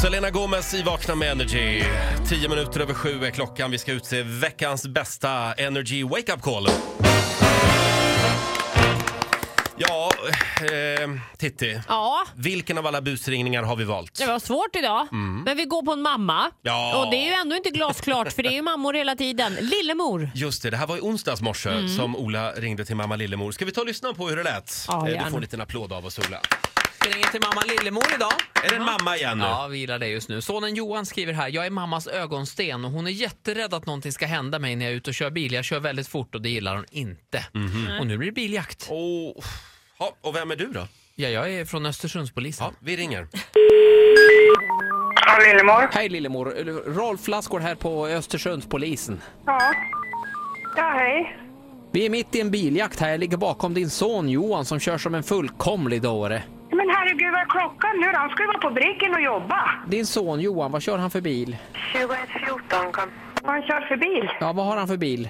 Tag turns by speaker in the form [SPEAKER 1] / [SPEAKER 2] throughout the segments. [SPEAKER 1] Selena Gomez i Vakna med Energy. Tio minuter över sju är klockan. Vi ska utse veckans bästa Energy Wake Up Call. Ja, eh, Titti.
[SPEAKER 2] Ja,
[SPEAKER 1] Vilken av alla busringningar har vi valt?
[SPEAKER 2] det var svårt idag. Men vi går på en mamma.
[SPEAKER 1] Ja.
[SPEAKER 2] Och det är ju ändå inte glasklart för det är ju mammor hela tiden. Lillemor.
[SPEAKER 1] Just det, det här var i onsdags morse som Ola ringde till mamma Lillemor. Ska vi ta och lyssna på hur det lät?
[SPEAKER 2] Ja,
[SPEAKER 1] Eh, du
[SPEAKER 2] gärna.
[SPEAKER 1] får en liten applåd av oss Ola.
[SPEAKER 3] Vi ringer till mamma Lillemor idag.
[SPEAKER 1] Är det en mamma igen nu?
[SPEAKER 3] Ja, vi gillar det just nu. Sonen Johan skriver här, jag är mammas ögonsten och hon är jätterädd att någonting ska hända mig när jag är ute och kör bil. Jag kör väldigt fort och det gillar hon inte.
[SPEAKER 4] Mhm.
[SPEAKER 3] Och nu blir det biljakt.
[SPEAKER 1] Och, ja, och vem är du då?
[SPEAKER 3] Ja, jag är från Östersundspolisen.
[SPEAKER 1] Ja, vi ringer.
[SPEAKER 5] Ja, Lillemor.
[SPEAKER 4] Hej Lillemor, Rolf Lassgård här på Östersundspolisen.
[SPEAKER 5] Ja. Ja, hej.
[SPEAKER 4] Vi är mitt i en biljakt här, jag ligger bakom din son Johan som kör som en fullkomlig dåre.
[SPEAKER 5] Men herregud, vad är klockan nu då? Han ska ju vara på briggen och jobba.
[SPEAKER 4] Din son Johan, vad kör han för bil?
[SPEAKER 5] 21.14 kom. Vad han kör för bil?
[SPEAKER 4] Ja, vad har han för bil?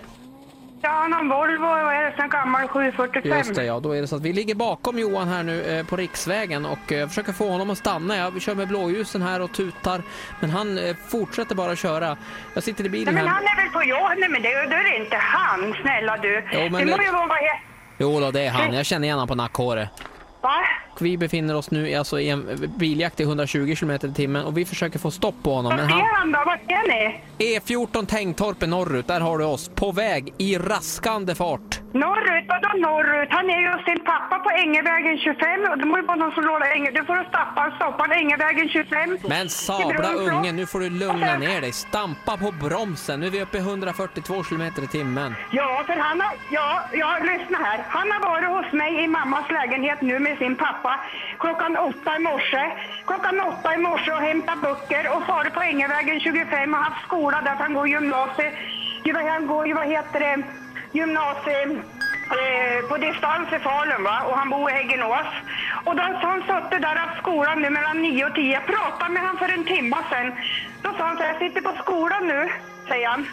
[SPEAKER 5] Ja, han har en Volvo och är en sån gammal 745.
[SPEAKER 4] Just det ja, då är det så att vi ligger bakom Johan här nu eh, på riksvägen och eh, försöker få honom att stanna. Jag kör med blåljusen här och tutar, men han eh, fortsätter bara köra. Jag sitter i
[SPEAKER 5] Nej,
[SPEAKER 4] bilen
[SPEAKER 5] men
[SPEAKER 4] här.
[SPEAKER 5] han är väl på jobb? Nej, men det, det är inte han, snälla du.
[SPEAKER 4] Jo, men
[SPEAKER 5] det må
[SPEAKER 4] det-
[SPEAKER 5] ju vara... vad he-
[SPEAKER 4] Jo då, det är han. Jag känner igen honom på nackhåret.
[SPEAKER 5] Va?
[SPEAKER 4] Och Vi befinner oss nu i- alltså, i en biljakt i 120 km i timmen och vi försöker få stopp på honom.
[SPEAKER 5] Vad
[SPEAKER 4] Men han, E
[SPEAKER 5] ser han då? Vad ser ni?
[SPEAKER 4] E14 Tängtorpet norrut, där har du oss. På väg i raskande fart.
[SPEAKER 5] Norrut? Vadå norrut? Han är ju hos sin pappa på Ängevägen 25. Och det må ju vara någon som lånar Änge... Du får stoppa, stoppa han Ängevägen 25.
[SPEAKER 4] Men sabla
[SPEAKER 5] Det beror på-
[SPEAKER 4] ungen, nu får du lugna ner dig. Stampa på bromsen. Nu är vi uppe i 142 km i timmen.
[SPEAKER 5] Ja, för han har, ja, ja, lyssna här. Han har varit hos mig i mammas lägenhet nu med sin pappa klockan åtta i morse. Klockan åtta i morse och hämtat böcker och farit på Ängevägen 25 och haft skola där för han går gymnasiet. Han går ju, vad heter det, gymnasiet eh, på distans i Falun va? och han bor i Häggenås. Och då så han suttit där av skolan nu mellan 9 och 10. Jag pratade med han för en timma sen. Då sa han så här, jag sitter på skolan nu, säger han.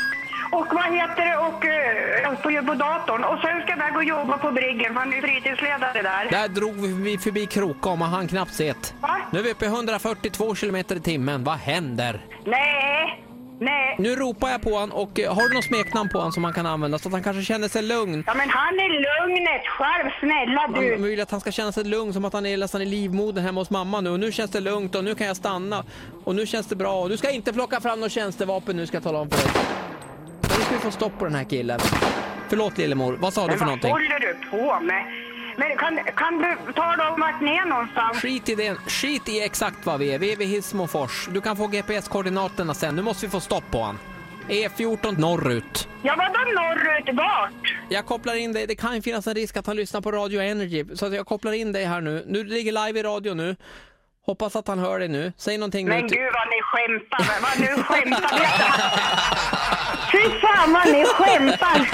[SPEAKER 5] Och vad heter det, och eh, på, på datorn. Och sen ska jag iväg och jobba på briggen för han är fritidsledare där.
[SPEAKER 4] Där drog vi förbi Krokom och han knappt sett.
[SPEAKER 5] Va?
[SPEAKER 4] Nu är vi uppe i 142 km i timmen. Vad händer?
[SPEAKER 5] Nej, nej.
[SPEAKER 4] Nu ropar jag på han och eh, har du något smeknamn på han som han kan använda så att han kanske känner sig lugn?
[SPEAKER 5] Ja men han är lugnet själv, snälla
[SPEAKER 4] Man
[SPEAKER 5] du.
[SPEAKER 4] vill att han ska känna sig lugn som att han är nästan i livmodern hemma hos mamma nu. Och nu känns det lugnt och nu kan jag stanna. Och nu känns det bra. Och du ska inte plocka fram något tjänstevapen nu ska jag tala om för dig. Men nu ska vi få stopp på den här killen. Förlåt Lillemor, vad sa du
[SPEAKER 5] Men
[SPEAKER 4] för
[SPEAKER 5] vad
[SPEAKER 4] någonting?
[SPEAKER 5] håller du på med? Men kan, kan du tala om vart ni är någonstans?
[SPEAKER 4] Skit i det. Skit i exakt vad vi är. Vi är vid Hissmofors. Du kan få GPS-koordinaterna sen. Nu måste vi få stopp på han. E14 norrut.
[SPEAKER 5] Ja vadå norrut, vart?
[SPEAKER 4] Jag kopplar in dig. Det kan ju finnas en risk att han lyssnar på Radio Energy. Så att jag kopplar in dig här nu. Nu ligger live i radio nu. Hoppas att han hör dig nu. Säg någonting
[SPEAKER 5] Men
[SPEAKER 4] nu. till-
[SPEAKER 5] gud vad ni skämtar, vad nu skämtar ni? Fy fan vad ni skämtar!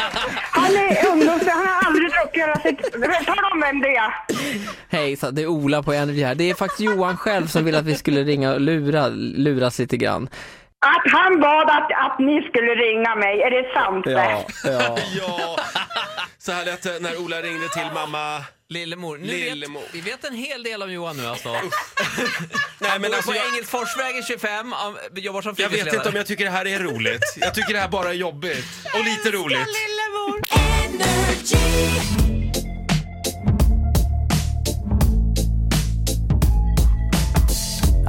[SPEAKER 5] Han är ungdoms... Han har aldrig druckit hela sitt... Tala om vem det är!
[SPEAKER 4] Hej, så det är Ola på Energy här. Det är faktiskt Johan själv som vill att vi skulle ringa och lura, luras lite grann.
[SPEAKER 5] Att han bad att, att ni skulle ringa mig, är det sant?
[SPEAKER 4] ja.
[SPEAKER 1] Ja, så här lät det när Ola ringde till mamma.
[SPEAKER 3] Lillemor. Nu
[SPEAKER 1] Lillemor.
[SPEAKER 3] Vet, vi vet en hel del om Johan nu alltså.
[SPEAKER 1] Nej,
[SPEAKER 3] Men
[SPEAKER 1] men alltså,
[SPEAKER 3] på
[SPEAKER 1] jag,
[SPEAKER 3] Engelsforsvägen 25, ja, jobbar som
[SPEAKER 1] jag vet inte om jag tycker det här är roligt. Jag tycker det här bara är jobbigt. Och lite roligt.
[SPEAKER 2] Lillemor.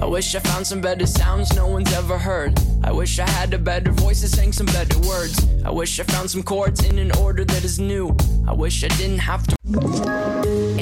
[SPEAKER 6] I wish I found some better sounds no one's ever heard. I wish I had a better voice that sang some better words. I wish I found some chords in an order that is new. I wish I didn't have to.